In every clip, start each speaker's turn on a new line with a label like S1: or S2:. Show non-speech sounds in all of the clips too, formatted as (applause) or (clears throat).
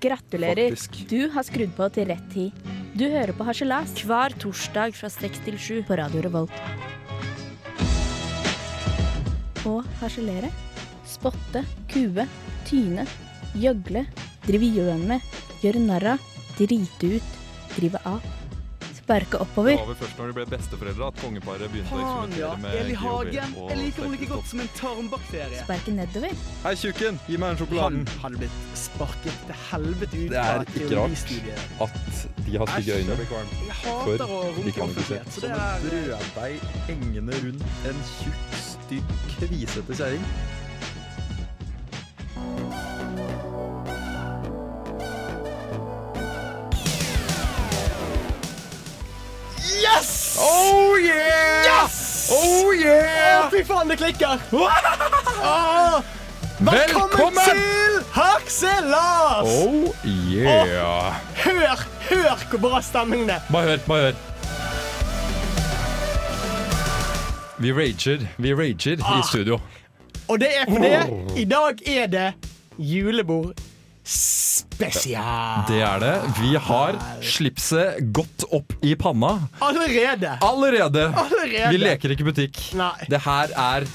S1: Gratulerer.
S2: Faktisk.
S1: Du har skrudd på til rett tid. Du hører på Harselas
S3: Hver torsdag fra seks til sju.
S1: på Radio Revolt. Å harselere. Spotte. Kue. Tyne. Gjøgle. Drive gjøn med. Gjøre narr av. Drite ut. Drive av. Sparke
S2: Det
S1: oppover.
S2: var vel først når de ble besteforeldre at kongeparet begynte å
S4: Faen, ja.
S2: eksperimentere med
S4: Eli
S2: GHB
S4: Hagen.
S2: og
S4: Jeg liker henne like
S2: sterke
S4: godt som en tarmbakterie.
S1: Sparke nedover.
S2: stoff. Hei, tjukken! Gi meg den sjokoladen!
S4: Han hadde blitt sparket til helvete ut
S5: Det er
S4: fra
S5: ikke rart.
S4: teoristudiet.
S5: At de har stygge
S2: Æsj, jeg
S5: øyne.
S2: blir kvalm.
S4: Jeg hater å
S5: de
S4: runke i
S5: kan ikke se. sånn
S4: offentlighet, så det
S5: Som
S4: er
S5: en brødbeig engende rundt en tjukk, stygg, kvisete kjerring.
S4: Yes!
S5: Oh yeah! Oh
S4: Å,
S5: yeah!
S4: fy faen, det
S5: (laughs)
S4: klikker! Ah, Åh, velkommen,
S5: Velkommen!
S4: til Harselas!
S5: Oh yeah!
S4: Hør, hør hvor bra stemningen er!
S5: Bare hør, bare hør. Vi rager, vi rager i studio.
S4: Og det er fordi i dag er det julebord spesial.
S5: Det er det. Vi har slipset godt opp i panna.
S4: Allerede.
S5: Allerede!
S4: Allerede.
S5: Vi leker ikke butikk.
S4: Nei.
S5: Det her er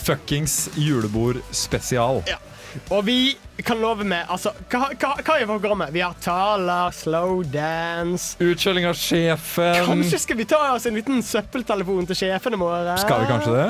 S5: fuckings julebord spesial.
S4: Ja. Og vi kan love med altså, hva, hva, hva er programmet? Vi har taler, slow dance
S5: Utkjøling av sjefen.
S4: Kanskje skal vi ta oss en liten søppeltelefon til sjefene våre?
S5: Skal vi kanskje det?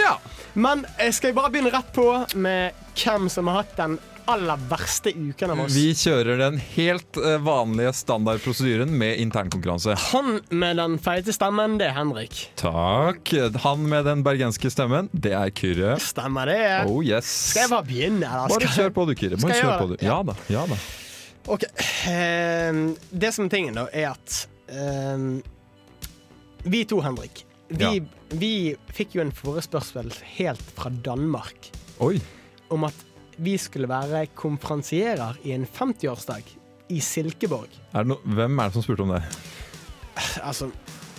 S5: Ja.
S4: Men eh, skal jeg bare begynne rett på med hvem som har hatt den aller verste uken av oss?
S5: Vi kjører den helt eh, vanlige standardprosedyren med internkonkurranse.
S4: Han med den feite stemmen, det er Henrik.
S5: Takk. Han med den bergenske stemmen, det er Kyrre.
S4: Stemmer det?
S5: Oh yes.
S4: Skal jeg bare begynne, eller?
S5: Bare kjør på du, Kyrre.
S4: Skal
S5: Bare
S4: jeg
S5: kjør
S4: gjøre
S5: på du.
S4: det?
S5: Ja da. ja da.
S4: Ok, ehm, Det som er tingen, da, er at ehm, Vi to, Henrik, vi,
S5: Ja.
S4: vi fikk jo en forespørsel helt fra Danmark
S5: Oi.
S4: om at vi skulle være konferansierer i en 50-årsdag i Silkeborg.
S5: Er det no Hvem er det som spurte om det?
S4: Altså,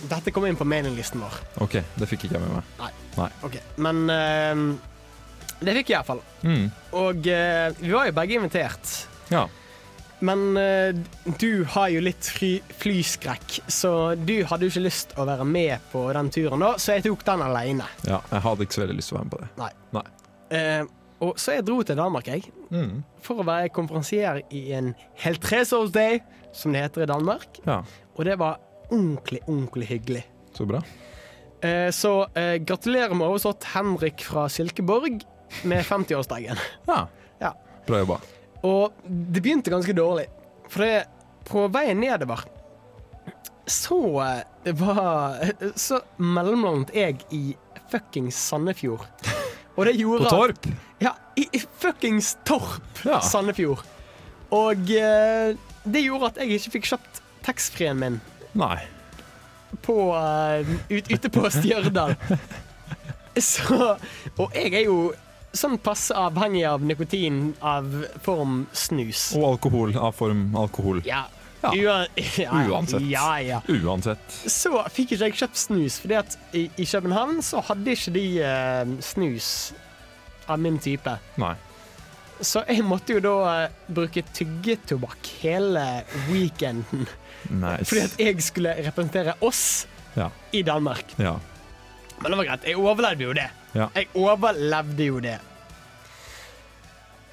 S4: dette kom inn på mailinglisten vår.
S5: OK, det fikk ikke jeg med meg.
S4: Ok, Men ehm, det fikk jeg iallfall.
S5: Mm.
S4: Og eh, vi var jo begge invitert.
S5: Ja.
S4: Men eh, du har jo litt fly, flyskrekk, så du hadde jo ikke lyst å være med på den turen da, så jeg tok den alene.
S5: ja. Jeg hadde ikke så veldig lyst til å være med på det.
S4: Eh, og så jeg dro til Danmark, jeg,
S5: Mm.
S4: for å være konferansier i en Heltresårsdag, som det heter i Danmark.
S5: Ja.
S4: Og det var ordentlig, ordentlig hyggelig.
S5: Så bra.
S4: Eh, så eh, gratulerer med overstått Henrik fra Silkeborg med 50-årsdagen.
S5: Ja.
S4: Ja.
S5: Bra jobba.
S4: Og det begynte ganske dårlig. For det, på veien nedover så eh, det var (laughs) Så mellomlandet jeg i fuckings Sandefjord. Og det
S5: På
S4: gjorde at-
S5: Torp.
S4: Ja, i i fuckings Torp
S5: Ja.
S4: Sandefjord. Og eh, det gjorde at jeg ikke fikk kjøpt taxfree-en min
S5: Nei.
S4: på, eh, ut, ute på Stjørdal. (laughs) Så Og jeg er jo sånn passe avhengig av nikotin av form snus.
S5: Og alkohol av form alkohol.
S4: Ja.
S5: Ja.
S4: Ua- (laughs) ja.
S5: Uansett.
S4: Ja, ja.
S5: Uansett.
S4: Så fikk ikke jeg kjøpt snus, fordi at i, i København så hadde ikke de eh, snus av min type.
S5: Nei.
S4: Så jeg måtte jo da eh, bruke tyggetobakk hele weekenden.
S5: Nice.
S4: Fordi at jeg skulle representere oss
S5: Ja.
S4: i Danmark.
S5: Ja.
S4: Men det var greit. Jeg overlevde jo det.
S5: Ja.
S4: Jeg overlevde jo det.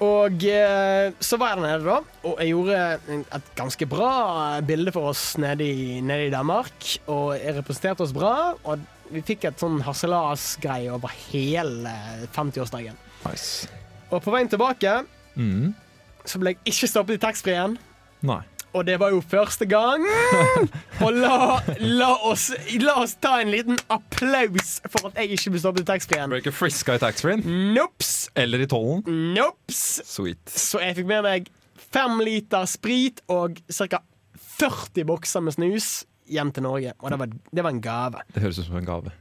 S4: Og eh, så var jeg der nede, da. Og jeg gjorde en- et ganske bra bilde for oss nede i, nede i Danmark. Og jeg representerte oss bra. Og vi fikk et sånn harselasgreie over hele 50-årsdagen.
S5: Nice.
S4: Og på veien tilbake
S5: Mm.
S4: så ble jeg ikke stoppet i taxfree-en.
S5: Nei.
S4: Og det var jo første gang. Og la, la, oss, la oss ta en liten applaus for at jeg ikke ble stoppet i taxfree-en.
S5: Ble ikke friska i taxfree-en.
S4: Nops.
S5: Eller i tollen.
S4: Nops!
S5: Sweet.
S4: Så jeg fikk med meg fem liter sprit og ca. 40 bokser med snus hjem til Norge. Og det var, det var en gave.
S5: Det høres ut som en gave.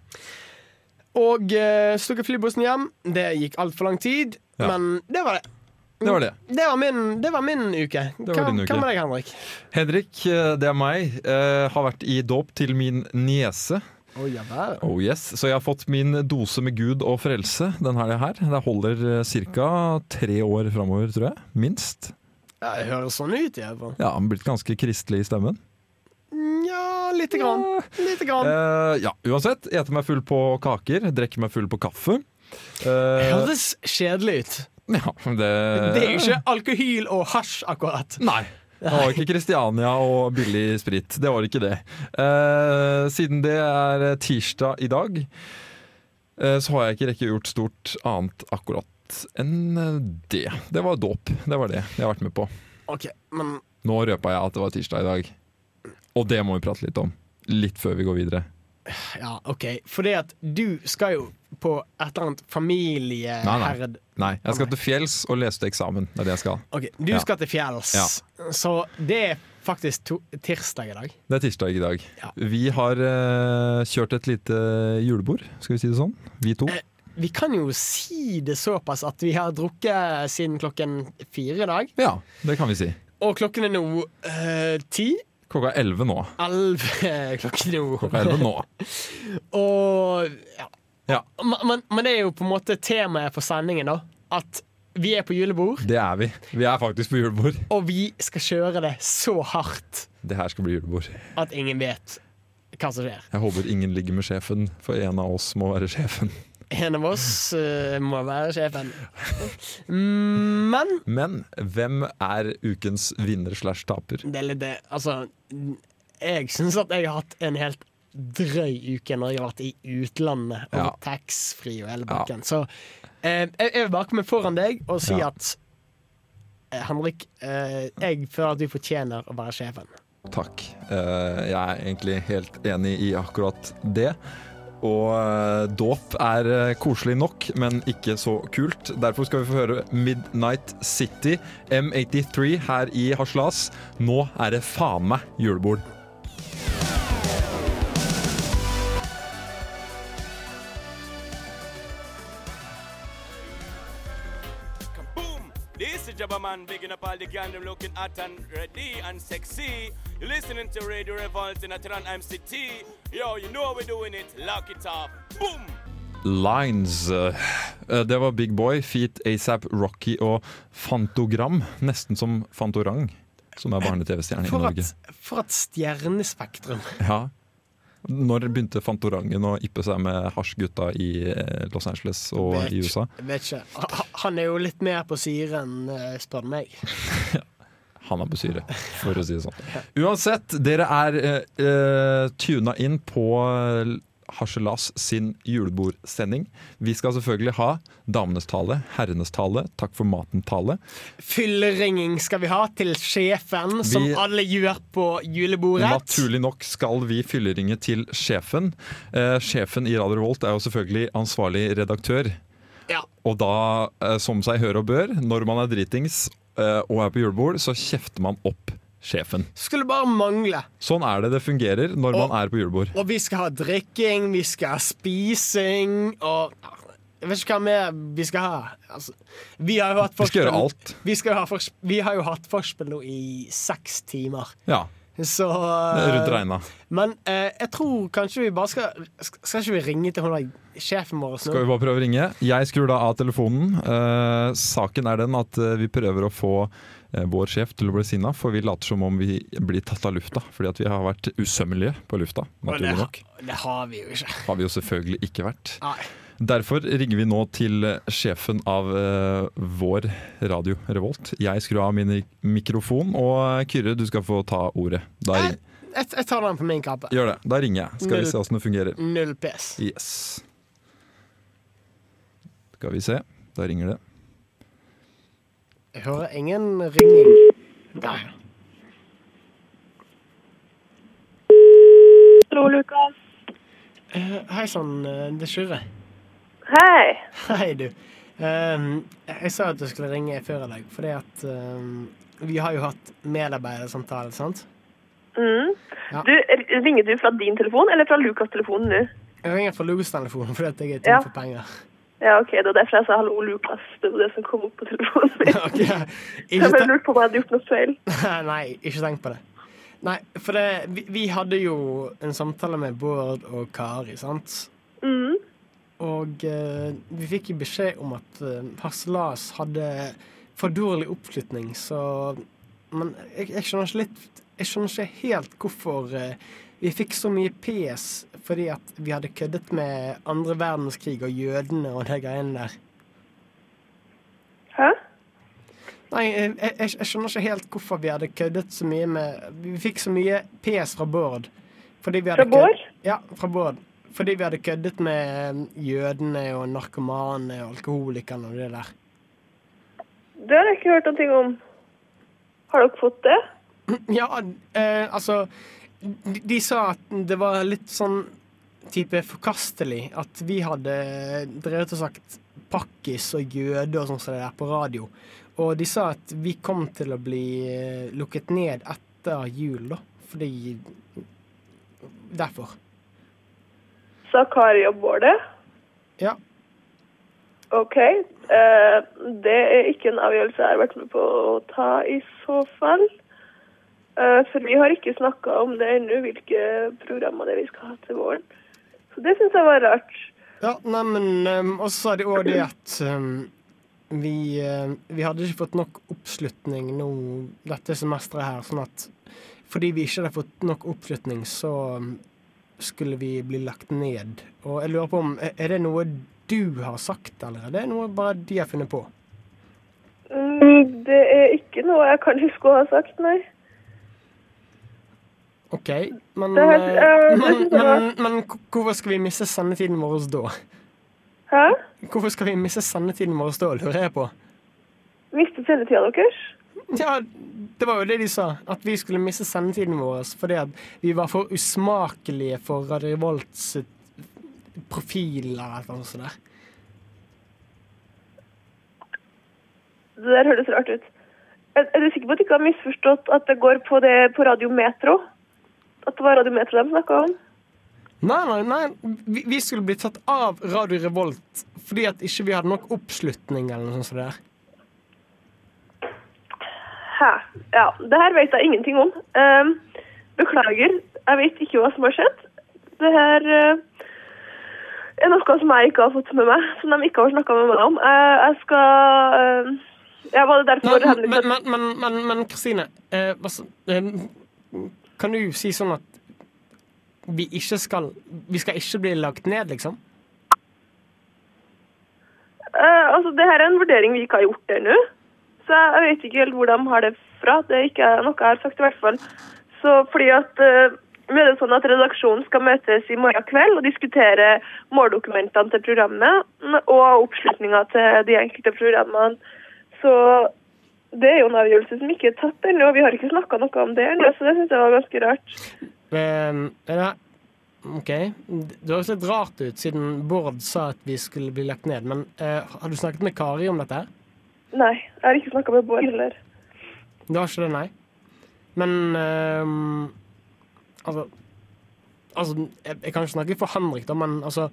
S4: Og uh, så tok jeg flybussen hjem. Det gikk altfor lang tid,
S5: Ja.
S4: men det var det.
S5: Det var det.
S4: Det var min, det var min uke.
S5: var din uke.
S4: Hva med deg, Henrik?
S5: Henrik, eh, det er meg, eh, har vært i dåp til min niese.
S4: Oh, ja, vel.
S5: Oh yes, Så jeg har fått min dose med Gud og eh, frelse den helga her. Det holder ca. tre år framover, tror jeg. Minst.
S4: Ja, det høres sånn ut, i hvert fall.
S5: Ja, han har blitt ganske kristelig i stemmen.
S4: Nja, lite grann. Lite grann.
S5: Eh, ja, uansett. Ete meg full på kaker, drikke meg full på kaffe. Eh,
S4: Høres kjedelig ut.
S5: ja, det
S4: Det er jo ikke
S5: Eh.
S4: alkohol og hasj, akkurat.
S5: Nei. Det var ikke Kristiania og billig sprit. Det var ikke det. Eh, siden det er tirsdag i dag, eh, så har jeg ikke rekke gjort stort annet akkurat enn eh, det. Det var dåp. Det var det jeg har vært med på.
S4: OK, men
S5: Nå røpa jeg at det var tirsdag i dag, og det må vi prate litt om. Litt før vi går videre.
S4: Ja, OK. Fordi at du skal jo på et eller annet
S5: Nei, nei.
S4: familieherd.
S5: Nei, jeg skal til fjells og lese til eksamen. Det er det jeg skal.
S4: OK, du
S5: Ja.
S4: skal til fjells. Så det er faktisk to tirsdag i dag.
S5: Det er tirsdag i dag.
S4: Ja.
S5: Vi har eh, kjørt et lite julebord, skal vi si det sånn. Vi to.
S4: Eh, Vi kan jo si det såpass at vi har drukket siden klokken fire i dag.
S5: Ja, det kan vi si.
S4: Og klokken er nå eh, ti.
S5: Klokka er elleve nå.
S4: Elleve eh, klokken er nå.
S5: Klokka er elleve nå.
S4: Og ja.
S5: Ja.
S4: Men, men, men det er jo på en måte temaet for sendingen, da. At vi er på julebord,
S5: Det er vi. Vi er faktisk på julebord.
S4: og vi skal kjøre det så hardt
S5: Det her skal bli julebord.
S4: at ingen vet hva som skjer.
S5: Jeg håper ingen ligger med sjefen, for en av oss må være sjefen.
S4: En av oss eh, må være sjefen. Men
S5: Men hvem er ukens vinner slash taper?
S4: det er litt det Altså, jeg syns at jeg har hatt en helt drøy uke når jeg har vært i utlandet og
S5: Ja.
S4: taxfree og hele
S5: Ja.
S4: bakken. Så eh, jeg, jeg vil bare komme foran deg og si
S5: Ja.
S4: at eh, Henrik, eh, jeg føler at du fortjener å være sjefen.
S5: Takk. Eh, jeg er egentlig helt enig i akkurat det. Og eh, dåp er eh, koselig nok, men ikke så kult. Derfor skal vi få høre Midnight City, M83, her i Haslas. Nå er det faen meg julebord.
S6: Boom! This is Jabba Man bigging up all the gang them looking hot and ready and sexy. You're listening to Radio Revolt in Atran MCT. Yo, you know how we're doing it. Lock it up. Boom!
S5: Lines. Eh, Det var Big Boy, Feet, ASAP, Rocky og Fantogram. Nesten som Fantorang, som er barne-TV-stjerne i
S4: For
S5: Norge.
S4: at, for at stjernespektrum
S5: Ja. Når begynte Fantorangen å yppe seg med hasjgutta i eh, Los Angeles og
S4: Vet-
S5: i USA?
S4: Vet ikke. Ha- Han er jo litt mer på syren, eh, spør du meg.
S5: Han er på syre, for å si
S4: (laughs)
S5: det sånn. Uansett, dere er eh, eh, tuna inn på eh, Harselas sin julebordsending. Vi skal selvfølgelig ha damenes tale, herrenes tale, takk for maten-tale.
S4: Fylleringing skal vi ha til sjefen, som
S5: Vi-
S4: alle gjør på julebordet.
S5: Naturlig nok skal vi fylleringe til sjefen. Eh, sjefen i Radio Revolt er jo selvfølgelig ansvarlig redaktør.
S4: Ja.
S5: Og da, eh, som seg hør og bør, når man er dritings eh, og er på julebord, så kjefter man opp sjefen.
S4: Skulle bare mangle.
S5: Sånn er det det fungerer når man
S4: Og-
S5: er på julebord.
S4: Og vi skal ha drikking, vi skal ha spising og ja, Jeg vet ikke hva mer vi skal ha. Altså, vi har jo hatt
S5: Vi skal
S4: forspill-
S5: gjøre alt.
S4: Vi, skal ha fors vi har jo hatt forspill nå i seks timer,
S5: Ja,
S4: så
S5: det er rundt regna.
S4: Men eh, jeg tror kanskje vi bare skal Skal ikke vi ringe til hun der sjefen vår nå?
S5: Skal vi bare prøve å ringe? Jeg skrur da av telefonen. Eh, saken er den at eh, vi prøver å få eh, vår sjef til å bli sinna, for vi later som om vi blir tatt av lufta. Fordi at vi har vært usømmelige på lufta,
S4: Og det,
S5: naturlig nok.
S4: det har vi jo ikke.
S5: Har vi jo selvfølgelig ikke vært.
S4: Nei.
S5: Derfor ringer vi nå til sjefen av eh, vår radio Revolt. Jeg skrur av min mik- mikrofon, og eh, Kyrre, du skal få ta ordet. Da, ring-
S4: Jeg, jeg tar den på min kappe.
S5: gjør det. Da ringer jeg. Skal vi se åssen det fungerer.
S4: Null pes.
S5: Yes. Skal vi se. Da ringer det.
S4: Jeg hører ingen ringing. Der.
S7: Hallo, Lukas.
S4: Eh, Hei sann, eh, det er Sjurre.
S7: Hei.
S4: (laughs) Hei, du. Ehm, jeg sa at du skulle ringe før i dag, fordi at ehm, vi har jo hatt medarbeidersamtale, sant?
S7: Mm.
S4: Ja.
S7: Du, r- ringer du fra din telefon eller fra Lukas-telefonen nå?
S4: Jeg ringer fra Logos-telefonen fordi at jeg er
S7: Ja.
S4: tom for penger. (laughs)
S7: Ja, ok, det var derfor jeg sa hallo, Lukas. Det var det som kom opp på telefonen min.
S4: Ok.
S7: Jeg
S4: Ikke
S7: bare
S4: ten-
S7: lurte på om jeg hadde gjort noe feil.
S4: (laughs) Nei, ikke tenk på det. Nei, for det, vi, vi hadde jo en samtale med Bård og Kari, sant?
S7: Mm.
S4: Og eh, vi fikk jo beskjed om at uh, Hasselas eh, hadde for dårlig oppslutning, så Men jeg, jeg skjønner ikke litt Jeg skjønner ikke helt hvorfor eh, vi fikk så mye PS fordi at vi hadde køddet med andre verdenskrig og jødene og de greiene der.
S7: Hæ?
S4: Nei, jeg, jeg, jeg skjønner ikke helt hvorfor vi hadde køddet så mye med Vi fikk så mye PS fra Bård. Fordi vi hadde
S7: Fra Bård?
S4: kødd- Ja, fra Bård. Fordi vi hadde køddet med eh, jødene og narkomane og alkoholikerne og det der.
S7: Det har jeg ikke hørt noe om. Har dere fått det?
S4: Ja, eh, altså de, de sa at det var litt sånn type forkastelig at vi hadde drevet og sagt pakkis og jøde og sånn som det der på radio. Og de sa at vi kom til å bli eh, lukket ned etter jul, da. Fordi Derfor.
S7: Sa Kari og Bård det?
S4: Ja.
S7: OK. Eh, det er ikke en avgjørelse jeg har vært med på å ta i så fall. Eh, for vi har ikke snakka om det ennå, hvilke programmer det er vi skal ha til våren. Så det syns jeg var rart.
S4: Ja, neimen um, Og så sa de òg det at ehm, vi, eh, vi hadde ikke fått nok oppslutning nå dette semesteret her, sånn at fordi vi ikke hadde fått nok oppslutning, så ehm, skulle vi bli lagt ned. Og jeg lurer på om Er er det noe du har sagt, eller er det noe bare de har funnet på?
S7: Mm, det er ikke noe jeg kan huske å ha sagt, nei.
S4: OK, men,
S7: Det er-
S4: eh,
S7: ja, det
S4: men,
S7: synes jeg
S4: men, men k- hvorfor skal vi miste sendetiden vår da?
S7: Hæ?
S4: Hvorfor skal vi miste sendetiden vår da, lurer jeg på?
S7: Mistet sendetida deres?
S4: Ja, det var jo det de sa. At vi skulle miste sendetiden vår fordi at vi var for usmakelige for Radio Revolt sitt profil eller noe sånt. der.
S7: Det der høres rart ut. Er, er du sikker på at du ikke har misforstått at det går på det på Radio Metro? At det var Radio Metro de snakka om?
S4: Nei, nei, nei. Vi, vi skulle bli tatt av Radio Revolt fordi at ikke vi hadde nok oppslutning eller noe sånt. som det der.
S7: Hæ. Ja, det her vet jeg ingenting om. Ehm, beklager, jeg vet ikke hva som har skjedd. Det her eh, er noe som jeg ikke har fått med meg, som de ikke har snakka med meg om. Eh, jeg skal eh, Ja, var det derfor
S4: Nei,
S7: Henrik
S4: men, men, men, men, men Kristine, eh, hva så- eh, kan du si sånn at vi ikke skal Vi skal ikke bli lagt ned, liksom?
S7: Eh, altså, det her er en vurdering vi ikke har gjort ennå. Så jeg jeg vet ikke helt hvor de har det fra. Det er ikke noe jeg har sagt, i hvert fall. Så fordi at eh, nå er det sånn at redaksjonen skal møtes i morgen kveld og diskutere måldokumentene til programmet mm, og oppslutninga til de enkelte programmene. Så det er jo en avgjørelse som ikke er tatt ennå. Vi har ikke snakka noe om det ennå, så det syns jeg var ganske rart.
S4: Eh, er det OK. Det høres litt rart ut, siden Bård sa at vi skulle bli lagt ned. Men eh, har du snakket med Kari om dette? her?
S7: Nei, jeg har ikke snakka med Bård heller.
S4: Du har ikke det, nei? Men eh, Altså Altså, jeg, jeg kan ikke snakke for Henrik, da, men altså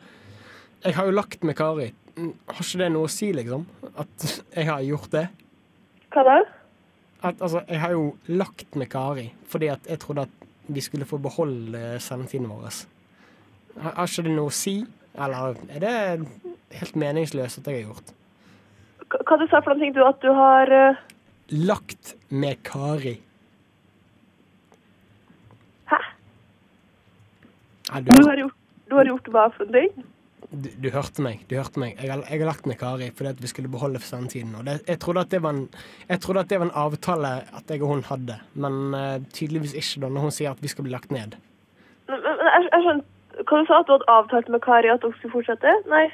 S4: Jeg har jo lagt med Kari. Har ikke det noe å si, liksom? At (laughs) jeg har gjort det?
S7: Hva da?
S4: At, altså, jeg har jo lagt med Kari fordi at jeg trodde at vi skulle få beholde sendetiden vår. Har, har ikke det noe å si? Eller er det helt meningsløst at jeg har gjort?
S7: Hva, hva du sa for noen ting du at du har eh,
S4: Lagt med Kari.
S7: Hæ?
S4: Ja,
S7: Du
S4: du,
S7: har gjort, du har gjort hva for en ting?
S4: du, du hørte meg. du hørte meg. Jeg har, jeg har lagt med Kari fordi at vi skulle beholde sendetiden. Og det, jeg, trodde at det var en, jeg trodde at det var en avtale at jeg og hun hadde, men eh, tydeligvis ikke da når hun sier at vi skal bli lagt ned.
S7: Men, men jeg, jeg skjønte Hva du sa at du hadde avtalt med Kari at dere skulle fortsette? Nei.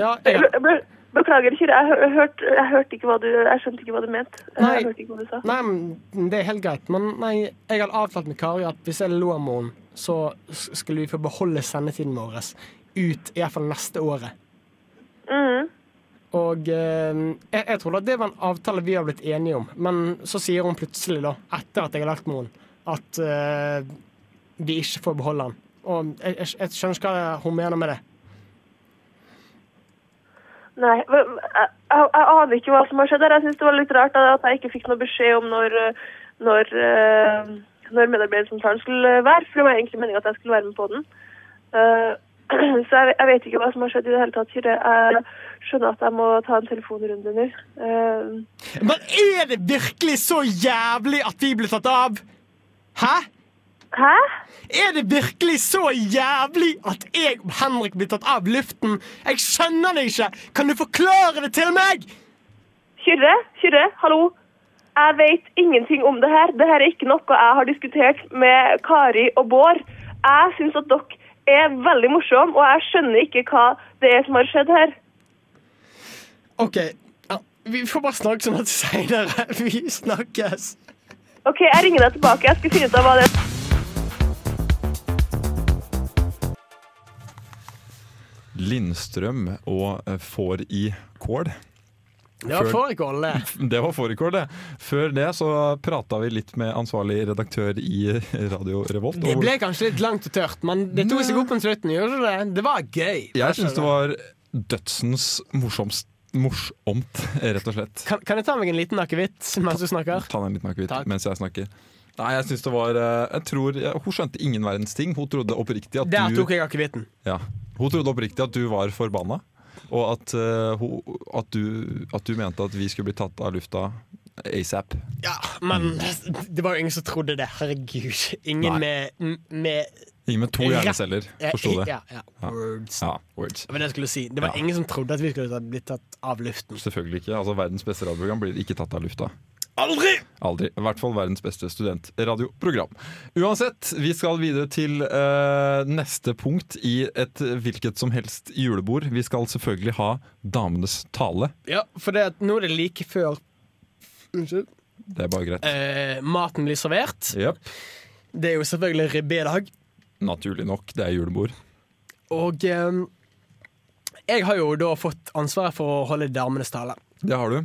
S4: Ja,
S7: Jeg,
S4: jeg,
S7: ble- jeg, ble- beklager, Kyrre. Jeg, hø- jeg, hørte- jeg hørte ikke hva du Jeg skjønte ikke hva du mente.
S4: Nei.
S7: Jeg hørte ikke hva du sa.
S4: Nei, men det er helt greit, men nei, jeg hadde avtalt med Kari at hvis jeg lå med henne, så s- skulle vi få beholde sendetiden vår ut i hvert fall neste året.
S7: Mhm.
S4: Og eh, jeg, jeg trodde at det var en avtale vi har blitt enige om, men så sier hun plutselig, da, etter at jeg har lagt med henne, at eh, vi ikke får beholde den. Og jeg, jeg, jeg skjønner ikke hva hun mener med det.
S7: Nei. hva- Jeg, jeg, jeg aner ikke hva som har skjedd her. Jeg syns det var litt rart at jeg ikke fikk noe beskjed om når eh, når, eh, (clears throat) når medarbeidersamtalen skulle være, for det var egentlig meninga at jeg skulle være med på den. Eh, Så jeg, jeg vet ikke hva som har skjedd i det hele tatt, Kyrre. Jeg skjønner at jeg må ta en telefonrunde nå. Eh,
S4: Men er det virkelig så jævlig at vi ble tatt av? Hæ?
S7: Hæ?
S4: Er det virkelig så jævlig at jeg og Henrik blir tatt av luften? Jeg skjønner det ikke! Kan du forklare det til meg?
S7: Kyrre? Kyrre? Hallo? Jeg vet ingenting om det her. Det her er ikke noe jeg har diskutert med Kari og Bård. Jeg syns at dere er veldig morsomme, og jeg skjønner ikke hva det er som har skjedd her.
S4: OK, ja, vi får bare snakke sånn at seinere. (laughs) Vi snakkes.
S7: OK, jeg ringer deg tilbake. Jeg skal finne ut av hva det er.
S5: Lindstrøm og eh, får i kål.
S4: Det var fårikål, det.
S5: Det var fårikål, det. Før det så prata vi litt med ansvarlig redaktør i Radio Revolt.
S4: Det
S5: og-
S4: ble kanskje litt langt og tørt, men det tok seg opp på slutten. Gjorde det? det var gøy.
S5: Jeg syns det var dødsens morsomst, morsomt, rett og slett.
S4: Kan, kan jeg ta meg en liten akevitt mens du snakker?
S5: Ta deg en liten akevitt
S4: Takk.
S5: mens jeg snakker. Nei, jeg synes det var eh, Jeg tror ja, Hun skjønte ingen verdens ting. Hun trodde oppriktig at
S4: Der
S5: du
S4: tok jeg akevitten.
S5: ja, Hun trodde oppriktig at du var forbanna. Og at, eh, hun, at, du, at du mente at vi skulle bli tatt av lufta asap.
S4: Ja, men det var jo ingen som trodde det. Herregud. Ingen
S5: Nei.
S4: med, med
S5: Ingen med to
S4: Rett-
S5: hjerneceller forsto det.
S4: Ja, ja. Words.
S5: Ja, words.
S4: Det var det jeg skulle si. Det var
S5: Ja.
S4: ingen som trodde at vi skulle ta- bli tatt av luften.
S5: Selvfølgelig ikke. altså Verdens beste radioprogram blir ikke tatt av lufta.
S4: Aldri!
S5: Aldri. I hvert fall verdens beste studentradioprogram. Uansett, vi skal videre til eh, neste punkt i et hvilket som helst julebord. Vi skal selvfølgelig ha Damenes tale.
S4: Ja, for det at nå er det like før Unnskyld.
S5: Det er bare greit.
S4: Eh, maten blir servert.
S5: Jepp.
S4: Det er jo selvfølgelig ribbedag.
S5: Naturlig nok, det er julebord.
S4: Og eh, jeg har jo da fått ansvaret for å holde damenes tale.
S5: Det har du.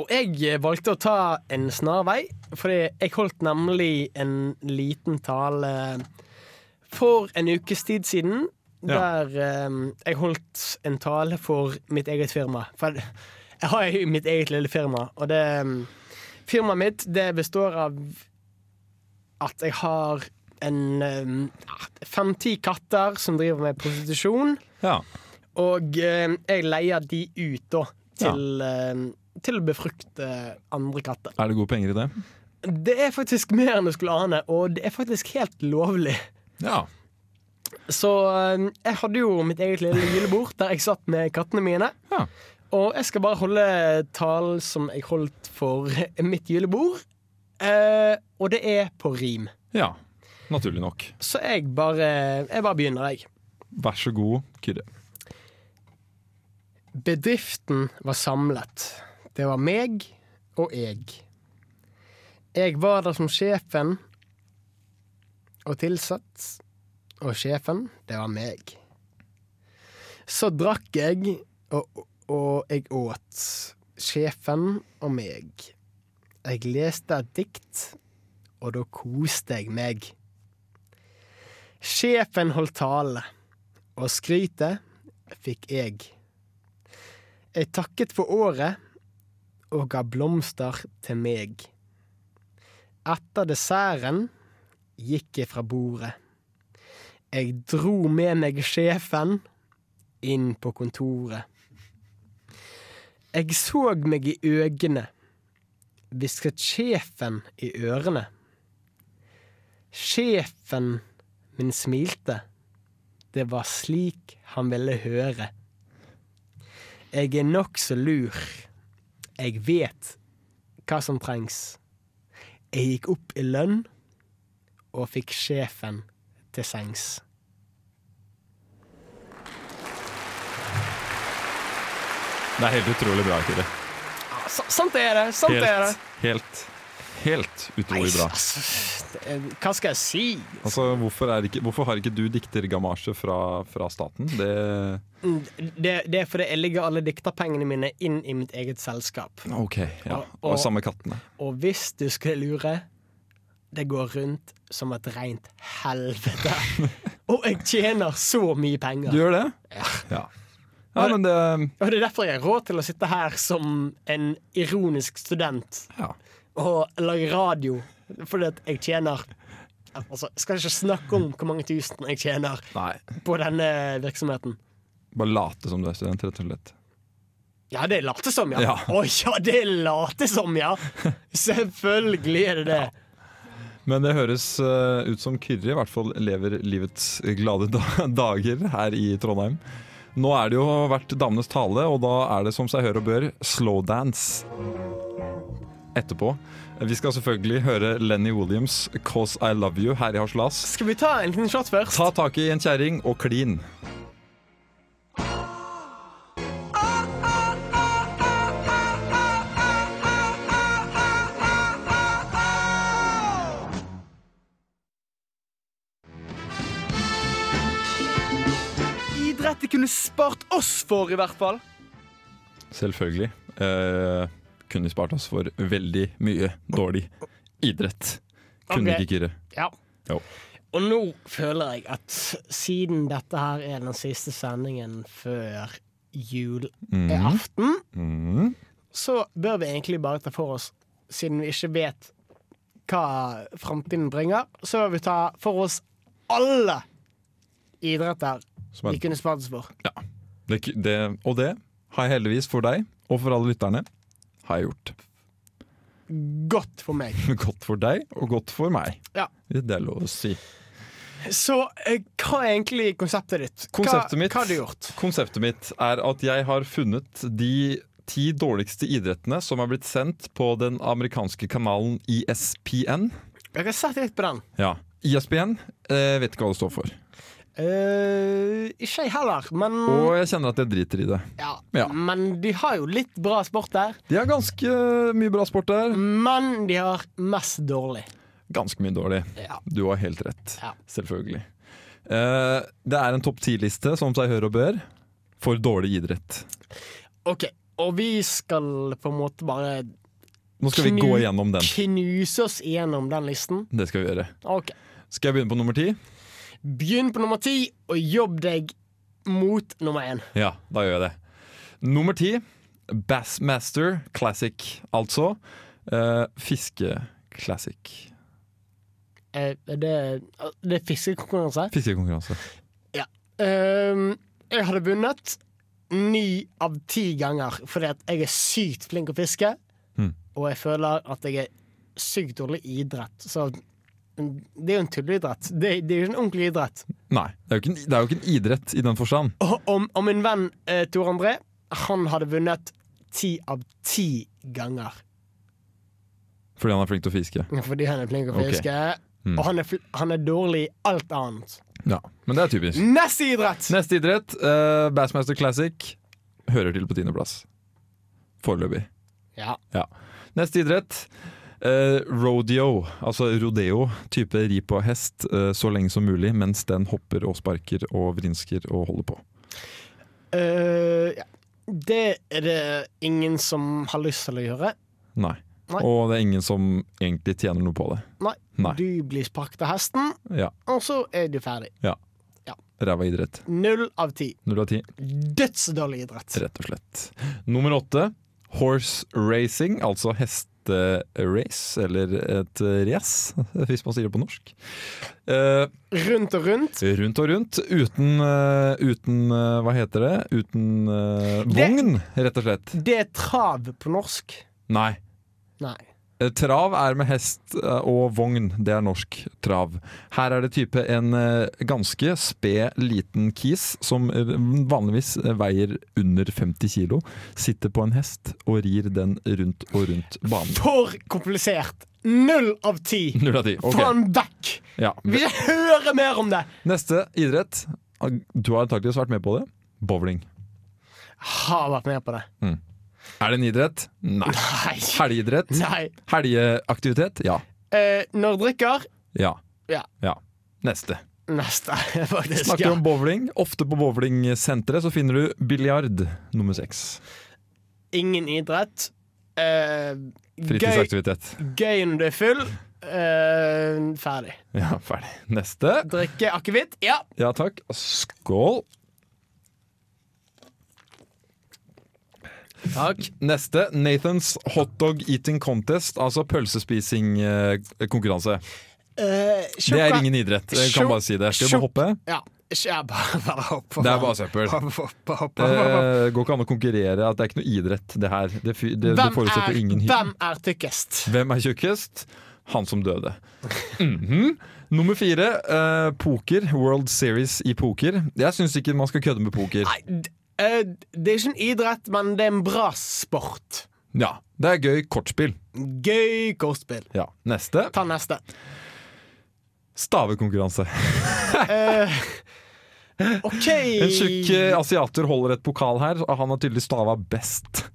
S4: Og jeg eh, valgte å ta en snarvei, fordi jeg holdt nemlig en liten tale for en ukes tid siden.
S5: Ja.
S4: Der eh, jeg holdt en tale for mitt eget firma. For jeg har jo mitt eget lille firma, og det eh, Firmaet mitt det består av at jeg har en eh, fem-ti katter som driver med prostitusjon.
S5: Ja.
S4: Og eh, jeg leier de ut da til, eh, til å befrukte andre katter.
S5: Er det gode penger i det?
S4: Det er faktisk mer enn du skulle ane, og det er faktisk helt lovlig.
S5: Ja.
S4: Så eh, jeg hadde jo mitt eget lille julebord der jeg satt med kattene mine.
S5: Ja.
S4: Og jeg skal bare holde talen som jeg holdt for (laughs) mitt julebord. Eh, og det er på rim.
S5: ja. Naturlig nok.
S4: Så jeg bare, jeg bare begynner, jeg.
S5: Vær så god, Kyrre.
S4: Bedriften var samlet. Det var meg og jeg. Jeg var der som sjefen og tilsatt, og sjefen, det var meg. Så drakk jeg, og, og jeg åt. Sjefen og meg. Jeg leste et dikt, og da koste jeg meg. Sjefen holdt tale, og skrytet fikk jeg. Jeg takket for året og ga blomster til meg. Etter desserten gikk jeg fra bordet. Jeg dro med meg sjefen inn på kontoret. Jeg så meg i øynene, hvisket sjefen i ørene. Sjefen min smilte, det var slik han ville høre. Jeg er nokså lur. Jeg vet hva som trengs. Jeg gikk opp i lønn og fikk sjefen til sengs.
S5: Det er helt utrolig bra, Kyrre.
S4: Sant er det! Sant er det!
S5: Helt, helt, helt utrolig bra.
S4: altså, det er- hva skal jeg si?
S5: Altså, hvorfor, er ikke, hvorfor har ikke du diktergamasje fra, fra staten? Det
S4: Det, det er fordi jeg ligger alle dikterpengene mine inn i mitt eget selskap.
S5: OK. Ja.
S4: Og-
S5: Og samme kattene.
S4: Og hvis du skulle lure, det går rundt som et rent helvete.
S5: (laughs)
S4: Og jeg tjener så mye penger.
S5: Du gjør det? Ja. Ja, men det
S4: Og det er derfor jeg har råd til å sitte her som en ironisk student
S5: ja.
S4: og lage radio. Fordi at jeg tjener Altså, skal ikke snakke om hvor mange tusen jeg tjener
S5: Nei.
S4: på denne virksomheten.
S5: Bare late som du er student, rett og slett.
S4: Ja, det later som, ja.
S5: Ja.
S4: Å ja, det later som, ja! Selvfølgelig er det det.
S5: Men det høres eh, ut som Kyrre i hvert fall lever livets glade da (laughs) dager her i Trondheim. Nå er det jo vært damenes tale, og da er det som seg hør og bør slowdance etterpå. Vi skal selvfølgelig høre Lenny Williams 'Cause I Love You' her i Haslas.
S4: Skal vi ta en liten shot først?
S5: Ta tak i en kjerring og klin.
S4: Idrett det kunne spart oss for, i hvert fall.
S5: Selvfølgelig. Eh, kunne spart oss for veldig mye dårlig idrett. Kunne
S4: Ok.
S5: ikke Kyrre.
S4: Ja.
S5: Jo.
S4: Og nå føler jeg at siden dette her er den siste sendingen før
S5: Mhm.
S4: julaften,
S5: Mm.
S4: så bør vi egentlig bare ta for oss, siden vi ikke vet hva framtiden bringer, så bør vi ta for oss alle idretter
S5: Som
S4: vi
S5: er,
S4: kunne spart oss for.
S5: det, det, og det har jeg heldigvis for deg, og for alle lytterne, har jeg gjort. (laughs)
S4: Godt for meg.
S5: Godt for deg, og godt for meg.
S4: Ja.
S5: Det er lov å si.
S4: Så eh, hva er egentlig konseptet ditt?
S5: Konseptet
S4: hva,
S5: mitt-
S4: hva har du gjort?
S5: Konseptet mitt er at jeg har funnet de ti dårligste idrettene som er blitt sendt på den amerikanske kanalen E ESPN.
S4: Jeg har sett litt på den.
S5: Ja. E ESPN eh, vet ikke hva det står for.
S4: Eh, ikke jeg heller, men
S5: Og jeg kjenner at jeg driter i det.
S4: ja.
S5: ja.
S4: Men de har jo litt bra sport der.
S5: De har ganske mye bra sport der.
S4: Men de har mest dårlig.
S5: Ganske mye dårlig.
S4: Ja.
S5: Du har helt rett.
S4: Ja.
S5: Selvfølgelig. Eh, det er en topp ti-liste, som seg hør og bør, for dårlig idrett.
S4: OK, og vi skal på en måte bare
S5: Nå skal vi
S4: Knu-
S5: gå igjennom den.
S4: knuse oss gjennom den listen.
S5: Det skal vi gjøre.
S4: Ok,
S5: Skal jeg begynne på nummer ti?
S4: Begynn på nummer ti, og jobb deg mot nummer én.
S5: Ja, da gjør jeg det. Nummer ti, Bassmaster Classic, altså. Eh, Fiske-classic.
S4: Eh, det, det er fiskekonkurranse.
S5: Fiskekonkurranse.
S4: Ehm, jeg hadde vunnet ni av ti ganger fordi at jeg er sykt flink å fiske.
S5: Mm.
S4: Og jeg føler at jeg er sykt dårlig i idrett. Så det er jo en tulleidrett. Det, det er jo ikke en ordentlig idrett.
S5: Nei, det er, jo ikke en, det er jo ikke en idrett i den forstand.
S4: Og, og, og min venn eh, Tor André, han hadde vunnet ti av ti ganger.
S5: Fordi han er flink til å fiske.
S4: Fordi han er flink å
S5: Ok.
S4: fiske.
S5: Mm.
S4: Og han er, fl han er dårlig i alt annet.
S5: Ja, Men det er typisk.
S4: Neste idrett!
S5: Neste idrett, eh, Bassmaster Classic, hører til på tiendeplass. Foreløpig.
S4: Ja.
S5: Neste idrett, eh, rodeo. Altså rodeo, type ri på hest eh, så lenge som mulig mens den hopper og sparker og vrinsker og holder på.
S4: Eh, ja. Det er det ingen som har lyst til å gjøre.
S5: Nei.
S4: Nei.
S5: Og det er ingen som egentlig tjener noe på det.
S4: Nei.
S5: Nei.
S4: Du blir sparket av hesten,
S5: Ja.
S4: og så er du ferdig.
S5: Ræva idrett.
S4: Null av ti.
S5: Null av ti,
S4: Dødsdårlig idrett.
S5: rett og slett. Nummer åtte, horse racing, altså hesterace, eller et race, (laughs) hvis man sier det på norsk. Eh,
S4: Rundt og rundt.
S5: Rundt og rundt, uten, eh, uten eh, Hva heter det? Uten eh, vogn, rett og slett.
S4: Det er trav på norsk.
S5: Nei.
S4: Nei.
S5: Eh, Trav er med hest eh, og vogn. Det er norsk trav. Her er det type en eh, ganske sped liten kis som eh, vanligvis eh, veier under 50 kilo, sitter på en hest og rir den rundt og rundt banen.
S4: For komplisert. Null av ti.
S5: Null av ti. Ok.
S4: Faen vekk!
S5: Ja.
S4: Vil ikke høre mer om det!
S5: Neste idrett. Ah, Du har antakeligvis vært med på det. Bowling.
S4: Har vært med på det.
S5: Er det en idrett? Nei.
S4: Nei.
S5: Helgeidrett?
S4: Nei.
S5: Helgeaktivitet? Ja.
S4: Eh, når drikker
S5: Ja.
S4: Ja.
S5: Neste.
S4: Neste, (laughs) faktisk.
S5: Snakker
S4: Ja.
S5: om bowling. Ofte på bowlingsenteret så finner du biljard nummer seks.
S4: Ingen idrett. Eh, gøy,
S5: Fritidsaktivitet.
S4: gøy når du er full. Eh, ferdig.
S5: Ja, ferdig. Neste.
S4: Drikke akevitt. Ja.
S5: Ja takk. Skål.
S4: Takk.
S5: Neste. Nathans hotdog eating contest, altså pølsespisingkonkurranse.
S4: Eh,
S5: eh, Det er
S4: sjokka-
S5: ingen idrett. Jeg kan bare si det. Skal vi bare hoppe?
S4: Ja. Ikke jeg bare, bare hopp.
S5: Det er bare søppel.
S4: Hopp, hopp, hopp,
S5: Det
S4: hopp, hopp.
S5: Eh, går ikke an å konkurrere. At det er ikke noe idrett, det her. Det, fy- det, det
S4: Hvem,
S5: forutsetter
S4: er,
S5: ingen hy-
S4: hvem er tykkest?
S5: Hvem er tjukkest? Han som døde. Mhm. Nummer fire, eh, poker. World Series i poker. Jeg syns ikke man skal kødde med poker.
S4: Nei, d- eh, det er ikke en idrett, men det er en bra sport.
S5: Ja, Det er gøy kortspill.
S4: Gøy kortspill.
S5: Ja, Neste
S4: Ta neste.
S5: stavekonkurranse.
S4: Eh,
S5: (laughs)
S4: OK.
S5: En tjukk eh, asiater holder et pokal her, og han har tydeligvis stava best.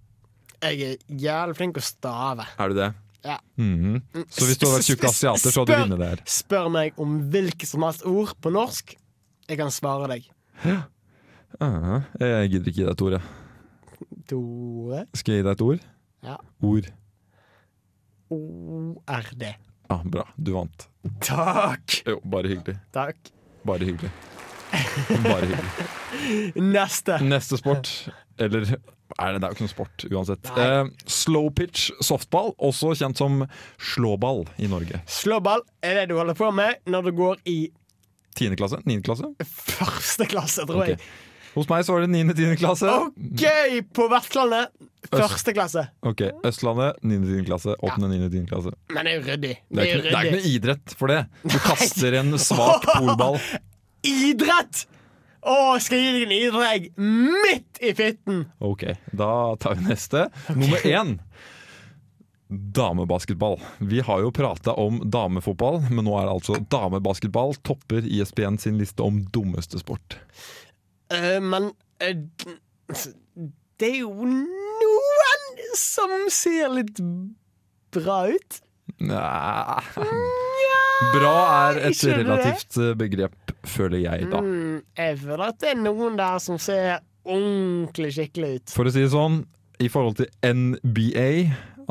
S4: Jeg er jævlig flink å stave.
S5: Er du det?
S4: Ja.
S5: Mhm. Så hvis du hadde vært tjukk asiater, så hadde du
S4: Spør-
S5: vunnet det her.
S4: Spør meg om hvilket som helst ord på norsk. Jeg kan svare deg.
S5: Ah, jeg gidder ikke gi deg et ord, jeg.
S4: Tore
S5: Skal jeg gi deg et ord?
S4: Ja.
S5: Ord.
S4: ORD.
S5: Ah, bra. Du vant.
S4: Takk.
S5: Jo, bare hyggelig.
S4: Takk.
S5: Bare hyggelig. Bare hyggelig.
S4: Neste.
S5: Neste sport Eller er det, det er jo ikke noe sport uansett. Eh, slow pitch softball, også kjent som slåball i Norge.
S4: Slåball er det du holder på med når du går i
S5: Tiende klasse? Niende klasse?
S4: første klasse, tror
S5: Ok. Hos meg så var det niende, tiende klasse.
S4: jeg. OK, på Vestlandet. Første klasse.
S5: Ok, Østlandet, niende, tiende klasse. Åttende, niende, tiende klasse.
S4: Men det er jo ryddig.
S5: Det er, ikke, det er ikke noe idrett for det. Du kaster en svak polball.
S4: Idrett! Å, skal jeg gi deg en idrett jeg, midt i fitten?
S5: Ok, da tar vi neste. Nummer én. Damebasketball. Vi har jo prata om damefotball, men nå er altså damebasketball topper E ISBN sin liste om dummeste sport.
S4: Eh, men eh, det er jo noen som ser litt bra ut.
S5: Næh. Bra er et
S4: skjønner du det?
S5: relativt eh, begrep, føler jeg da.
S4: Mm, jeg føler at det er noen der som ser ordentlig skikkelig ut.
S5: For å si det sånn, i forhold til NBA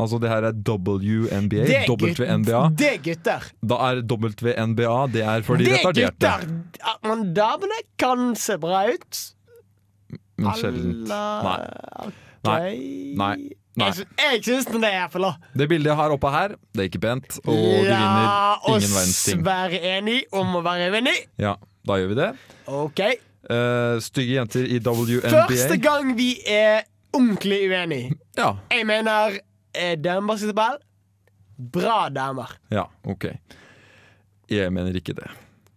S5: Altså det her er WNBA,
S4: Det er gutt-
S5: WNBA.
S4: Det er gutter.
S5: Da er WNBA det er for de
S4: Det er
S5: retarderte.
S4: gutter. Ja, Men damene kan se bra ut.
S5: Men sjeldent. sånn. Nei.
S4: Alla-
S5: Nei.
S4: Ok.
S5: Nei. Nei.
S4: Jeg, sy- jeg syns den er iallfall da.
S5: Det bildet jeg har oppe her, det er ikke pent, og du vinner ingen verdens ting.
S4: Ja, oss være enig om å være uenig.
S5: Ja, da gjør vi det.
S4: OK.
S5: Eh, stygge jenter i
S4: Første
S5: WNBA.
S4: gang vi er ordentlig uenig.
S5: Ja,
S4: Jeg mener eh, damebasketball. Bra damer.
S5: ja, ok. Jeg mener ikke det.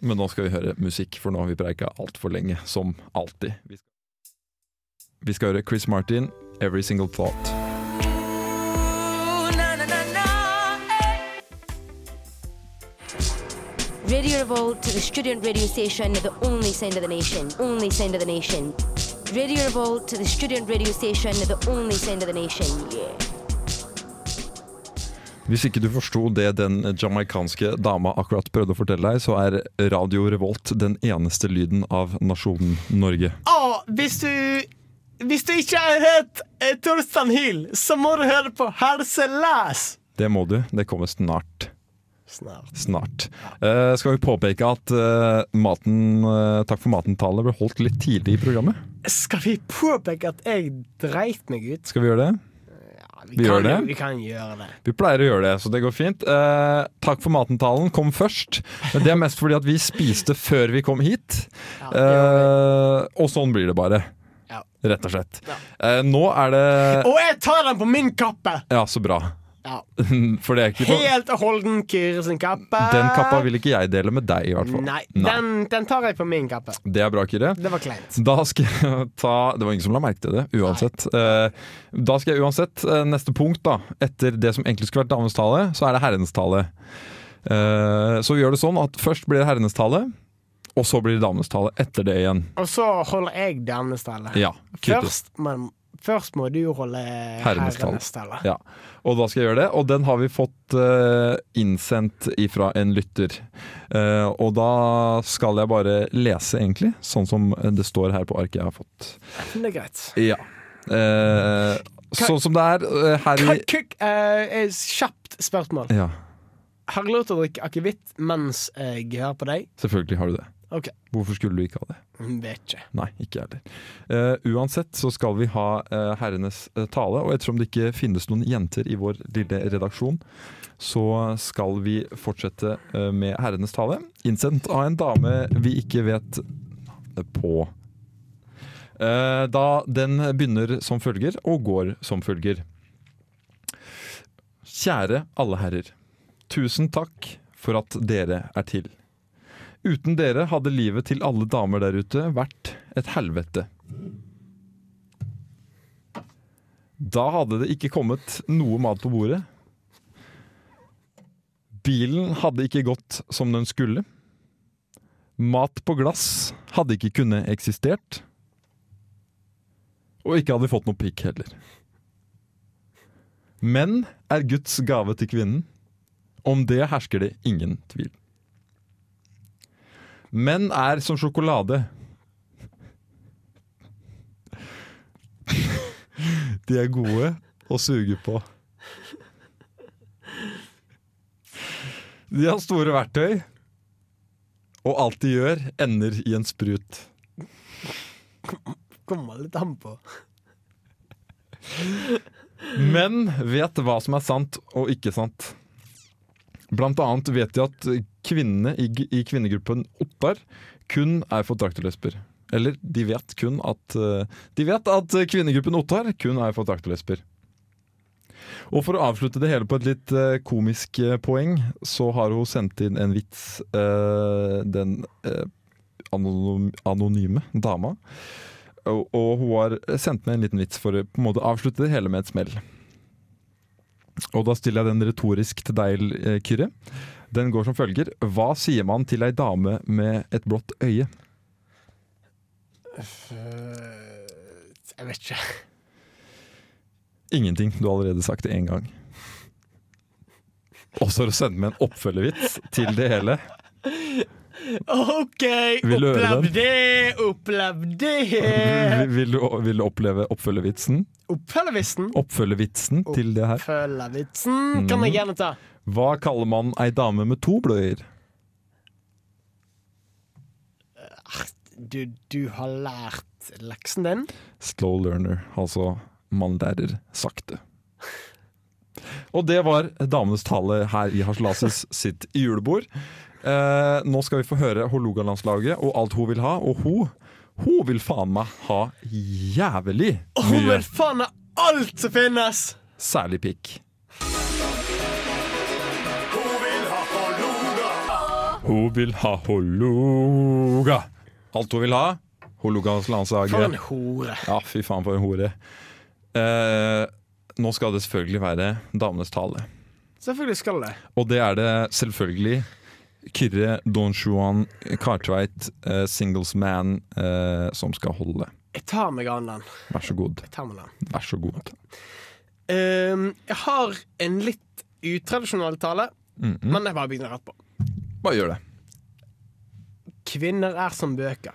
S5: Men nå skal vi høre musikk, for nå har vi preika altfor lenge, som alltid. Vi skal- Vi skal høre Chris Martin, 'Every Single Thought'.
S8: Radio Revolt, the student radio station, the only sound of the nation, only sound of the nation. Radio Revolt, the student radio station, the only sound of the nation, yeah.
S5: Hvis ikke du forsto det den jamaikanske dama akkurat prøvde å fortelle deg, så er Radio Revolt den eneste lyden av nasjonen Norge.
S4: Og hvis du hvis du ikke har hørt eh, Torstein Hyl, så må du høre på Helselæs.
S5: Det må du. Det kommer snart.
S4: Snart.
S5: snart. Eh, skal vi påpeke at eh, maten, eh, Takk for maten-tallet ble holdt litt tidlig i programmet?
S4: Skal vi påpeke at jeg dreit meg ut?
S5: Skal vi gjøre det?
S4: Ja,
S5: Vi gjør
S4: kan, jo-
S5: det.
S4: Vi kan gjøre det.
S5: Vi pleier å gjøre det, så det går fint. Eh, takk for maten-talen kom først. Men det er mest fordi at vi spiste før vi kom hit.
S4: Ja, det gjør vi.
S5: Eh, og sånn blir det bare.
S4: Ja.
S5: Rett og slett.
S4: Ja.
S5: Eh, nå er det
S4: (laughs) Og jeg tar den på min kappe!
S5: Ja, så bra. (laughs)
S4: Ja.
S5: For det er ikke noe
S4: Helt og holden Kyrre sin kappe.
S5: Den kappa vil ikke jeg dele med deg, i hvert fall.
S4: Nei, Den, den tar jeg på min kappe.
S5: Det er bra, Kyrre.
S4: Det var kleint.
S5: Da skal jeg ta Det var ingen som la merke til det, uansett. Eh, Da skal jeg uansett, eh, neste punkt, da, etter det som egentlig skulle vært damens tale, så er det herrenes tale. Eh, Så vi gjør det sånn at først blir det herrenes tale, og så blir det damenes tale etter det igjen.
S4: Og så holder jeg denne stallet.
S5: Ja, kuttes.
S4: først, men, først må du holde
S5: Herrenes tall.
S4: herrenes stallet.
S5: Ja. Og da skal jeg gjøre det, og den har vi fått eh, innsendt ifra en lytter. Eh, og da skal jeg bare lese, egentlig, sånn som det står her på arket jeg har fått.
S4: Det er greit.
S5: Ja. Eh, Sånn som det er eh, her i
S4: Kan, kan, eh, eh, kjapt spørsmål.
S5: Ja,
S4: Har jeg lov til å drikke akevitt mens jeg hører på deg?
S5: selvfølgelig har du det.
S4: Å, Ok.
S5: Hvorfor skulle du ikke ha det?
S4: Vet ikke.
S5: Nei, ikke jeg heller. Eh, uansett så skal vi ha eh, herrenes eh, tale, og ettersom det ikke finnes noen jenter i vår lille redaksjon, så skal vi fortsette eh, med herrenes tale, innsendt av en dame vi ikke vet navnet på. Eh, da den begynner som følger, og går som følger. Kjære alle herrer. Tusen takk for at dere er til. Uten dere hadde livet til alle damer der ute vært et helvete. Da hadde det ikke kommet noe mat på bordet. Bilen hadde ikke gått som den skulle. Mat på glass hadde ikke kunnet eksistert. Og ikke hadde vi fått noe pikk heller. Menn er Guds gave til kvinnen. Om det hersker det ingen tvil. Menn er som sjokolade. De er gode å suge på. De har store verktøy, og alt de gjør, ender i en sprut.
S4: Kommer litt an på.
S5: Menn vet hva som er sant og ikke sant. Blant annet vet de at kvinnene i, i kvinnegruppen Ottar kun er fortrakterlesber. Eller de vet kun at eh, De vet at kvinnegruppen Ottar kun er fortrakterlesber. Og for å avslutte det hele på et litt eh, komisk eh, poeng, så har hun sendt inn en vits. eh, den eh, anonym, anonyme dama. Og, og hun har sendt med en liten vits for å på en måte avslutte det hele med et smell. Og da stiller jeg den retorisk til deg, eh, Kyrre. Den går som følger. Hva sier man til ei dame med et blått øye?
S4: Eh, Jeg vet ikke.
S5: Ingenting. Du har allerede sagt det én gang. Og så har du sendt med en oppfølgevits til det hele.
S4: OK,
S5: Vil du høre
S4: opplev
S5: den?
S4: det, opplev det.
S5: Vil, vil, du, vil du oppleve oppfølgevitsen?
S4: Oppfølgevitsen.
S5: Oppfølgevitsen til det her.
S4: Oppfølgevitsen kan
S5: Mhm.
S4: jeg gjerne ta.
S5: Hva kaller man ei dame med to bløyer?
S4: Du, du har lært leksen din.
S5: Slow learner, altså man lærer sakte. Og det var damenes tale her i Haslases sitt julebord. Eh, nå skal vi få høre Hålogalandslaget og alt hun vil ha, og hun hun vil faen meg ha jævlig
S4: Å,
S5: mye,
S4: men faen er alt som finnes!
S5: særlig pikk. Hun vil ha Håloga. Alt hun vil ha. Hålogalandslaget.
S4: For en hore.
S5: Ja, fy faen for en hore. Eh, nå skal det selvfølgelig være damenes tale.
S4: Selvfølgelig skal det.
S5: Og det er det selvfølgelig Kyrre Don Juan Cartwright, eh, singles man, eh, som skal holde.
S4: Jeg tar meg an den.
S5: Vær så god.
S4: Jeg tar meg an den.
S5: Vær så god.
S4: Ehm, jeg har en litt utradisjonell tale,
S5: Mm -mm.
S4: men jeg bare begynner rett på.
S5: Bare gjør det.
S4: Kvinner er som bøker.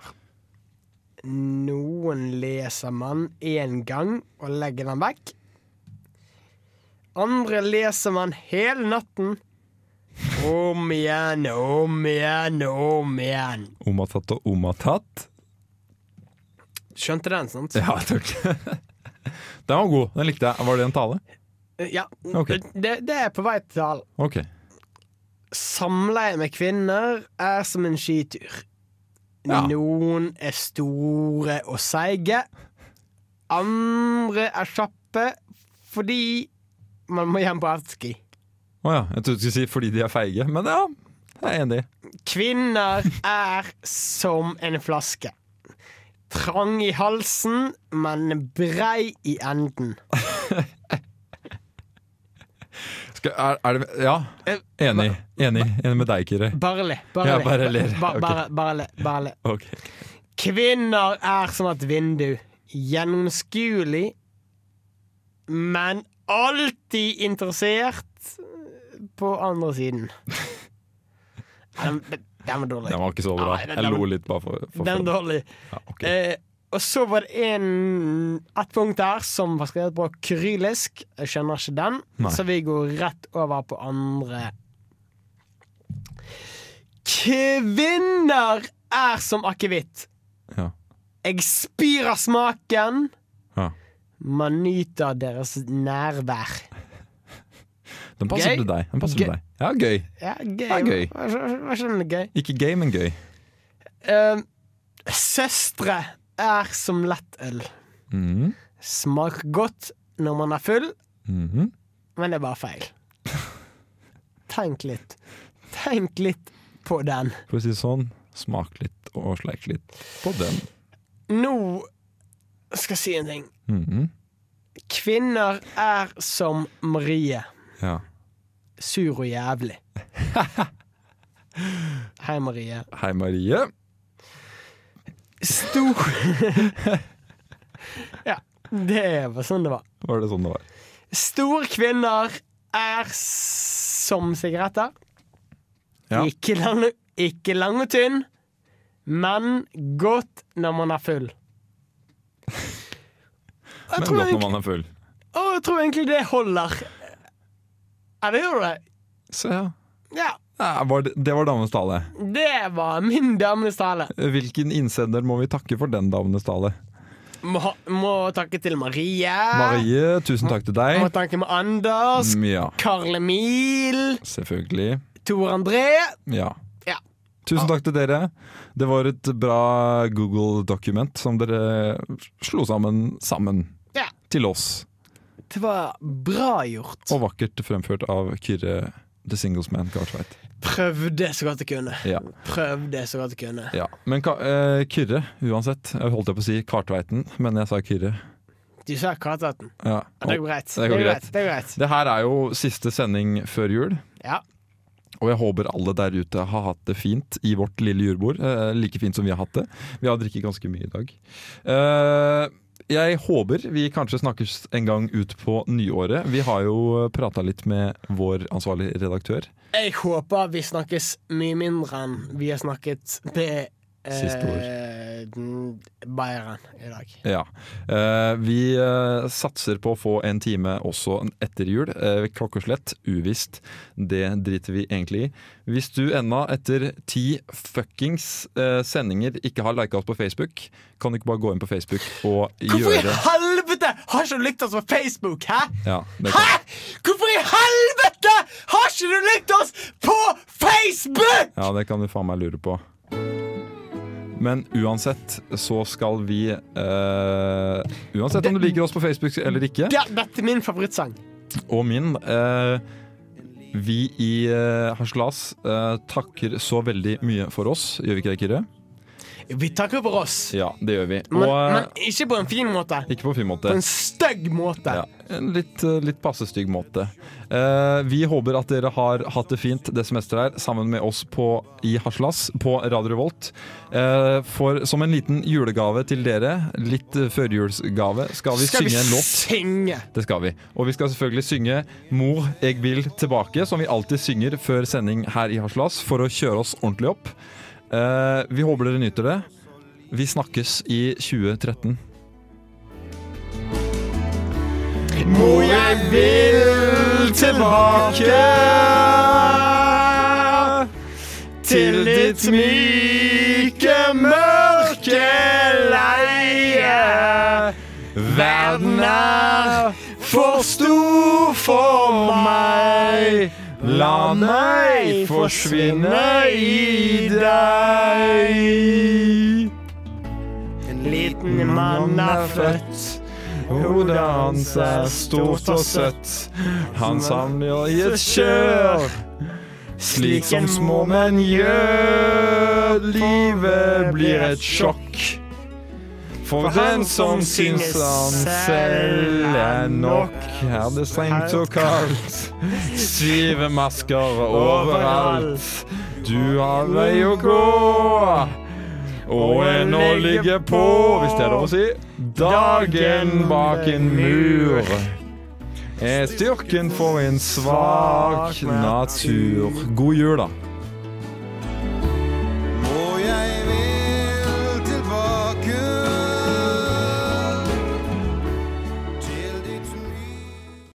S4: Noen leser man én gang og legger den vekk. Andre leser man hele natten. Om igjen, om igjen, om igjen.
S5: Omatat og omatat. (laughs)
S4: Skjønte den, sant?
S5: Ja, takk. (laughs) Den var god. Den likte jeg. Var det en tale?
S4: Ja.
S5: Ok.
S4: Det, det er på vei til all.
S5: Ok.
S4: Samleie med kvinner er som en skitur.
S5: Ja.
S4: Noen er store og seige. Andre er kjappe fordi man må hjem på afterski.
S5: Å ja. Jeg trodde du skulle si 'fordi de er feige', men ja. Jeg er enig.
S4: Kvinner er som en flaske. Trang i halsen, men brei i enden.
S5: Skal, er, er det Ja. Enig. Enig, enig med deg, Kyrre.
S4: Bare le. Bare
S5: Ja,
S4: le.
S5: bare ler.
S4: Ba,
S5: Ok.
S4: bare, bare le. Bare le.
S5: Ok.
S4: Kvinner er som et vindu. Gjennomskuelig, men alltid interessert på andre
S5: (laughs)
S4: siden. Ja, Den, den var dårlig.
S5: Den var ikke så bra.
S4: Nei, den-
S5: Jeg lo
S4: den-
S5: litt bare for, for
S4: Den var dårlig.
S5: Ja, ok.
S4: Eh, og så var det en, et punkt der som var skrevet på kyrillisk. Jeg skjønner ikke den,
S5: Nei.
S4: så vi går rett over på andre. Kvinner er som akevitt.
S5: Ja.
S4: Jeg spyr av smaken.
S5: Ja.
S4: Man nyter deres nærvær.
S5: Den passer
S4: Gøy.
S5: til deg. Den passer
S4: Gøy.
S5: til deg. Ja, gøy.
S4: Ja, gøy.
S5: er gøy.
S4: Hva- hva- hva skjønner du, gøy?
S5: Ikke gøy, men gøy.
S4: Ehm, søstre er som lettøl.
S5: Mhm.
S4: Smaker godt når man er full,
S5: Mhm.
S4: men det er bare feil. Tenk litt. Tenk litt på den.
S5: For å si det sånn, smak litt og sleik litt på den.
S4: Nå skal jeg si en ting.
S5: Mhm.
S4: Kvinner er som Marie.
S5: Ja.
S4: Sur og
S5: (laughs)
S4: jævlig. Hei, Marie.
S5: Hei, Marie.
S4: Stor (laughs) Ja, det var sånn det var.
S5: Var det sånn det var?
S4: Store kvinner er s- som sigaretter.
S5: Ja.
S4: Ikke, lang, ikke lang og tynn, men godt når man er full. Og
S5: (laughs)
S4: Jeg
S5: Men
S4: tror,
S5: godt når
S4: egentlig,
S5: man er full.
S4: og jeg tror egentlig det holder. Ja, det gjør det.
S5: Så ja.
S4: Ja,
S5: Ja, var det, det var damens tale. Eh,
S4: det var min damenes tale.
S5: Hvilken innsender må vi takke for den damenes tale?
S4: Må, må takke til Marie.
S5: Marie, tusen takk til
S4: Må
S5: deg.
S4: takke med Anders.
S5: Mm, Ja,
S4: Karl Emil.
S5: selvfølgelig.
S4: Tor André.
S5: Ja.
S4: Ja.
S5: Tusen takk til dere. Det var et bra Google-dokument som dere slo sammen sammen
S4: Ja.
S5: til oss.
S4: Det var bra gjort.
S5: Og vakkert fremført av Kyrre The Singles Man Gartveit.
S4: Prøvde så godt jeg kunne.
S5: Ja.
S4: Prøvde så godt jeg kunne.
S5: ja. Men Ka eh, Kyrre, uansett. Jeg holdt jeg på å si Kartveiten, men jeg sa Kyrre.
S4: Du sa Kattehatten.
S5: Ja.
S4: Ja, det går greit.
S5: Det går greit.
S4: Det går greit.
S5: Det her er jo siste sending før jul.
S4: Ja.
S5: Og jeg håper alle der ute har hatt det fint i vårt lille julebord. Eh, like fint som vi har hatt det. Vi har drikket ganske mye i dag. Eh, jeg håper vi kanskje snakkes en gang ut på nyåret. Vi har jo prata litt med vår ansvarlige redaktør.
S4: Jeg håper vi snakkes mye mindre enn vi har snakket med
S5: Siste
S4: eh, Bayern i dag.
S5: Ja. Eh, vi eh, satser på å få en time også etter jul. Eh, klokkeslett uvisst. Det driter vi egentlig i. Hvis du ennå etter ti fuckings eh, sendinger ikke har lika oss på Facebook, kan du ikke bare gå inn på Facebook og
S4: Hvorfor i
S5: gjøre
S4: helvete har ikke du likt oss på Facebook? Hæ?
S5: ja, det
S4: Hæ?!
S5: kan.
S4: Hvorfor i helvete har ikke du likt oss på Facebook?!
S5: ja, det kan du faen meg lure på. Men uansett så skal vi eh, Uansett om du liker oss på Facebook eller ikke,
S4: Ja, dette er min favorittsang.
S5: og min. Eh, vi i eh, Harselas eh, takker så veldig mye for oss, gjør vi ikke det, Kyrre?
S4: Vi takker for oss,
S5: Ja, det gjør vi. Og
S4: men, men
S5: eh,
S4: ikke på en fin måte.
S5: ikke på en fin måte.
S4: På en stygg måte.
S5: Ja, en litt, eh, litt passe stygg måte. Eh, vi håper at dere har hatt det fint det semesteret her, sammen med oss på, i Haslas på Radio Revolt. Eh, for som en liten julegave til dere, litt eh, førjulsgave, skal vi
S4: Skal vi
S5: synge en låt.
S4: synge?
S5: Det skal vi. Og vi skal selvfølgelig synge 'Mor, jeg vil tilbake', som vi alltid synger før sending her i Haslas, for å kjøre oss ordentlig opp. Eh, vi håper dere nyter det. Vi snakkes i 2013.
S4: Mor, jeg vil tilbake til ditt myke, mørke leie. Verden er for stor for meg. La meg forsvinne i deg. En liten
S5: Mm,
S4: mann er født.
S5: Hodet hans er stort og søtt. Han samler i et kjør, slik som små menn gjør. Livet blir et sjokk. For den som syns han selv er nok, er det strengt og kaldt. Stive masker overalt. Du har vei å gå. Og ennå ligger på, hvis det er lov å si, dagen bak en mur. Er styrken for en svak natur. God jul, da.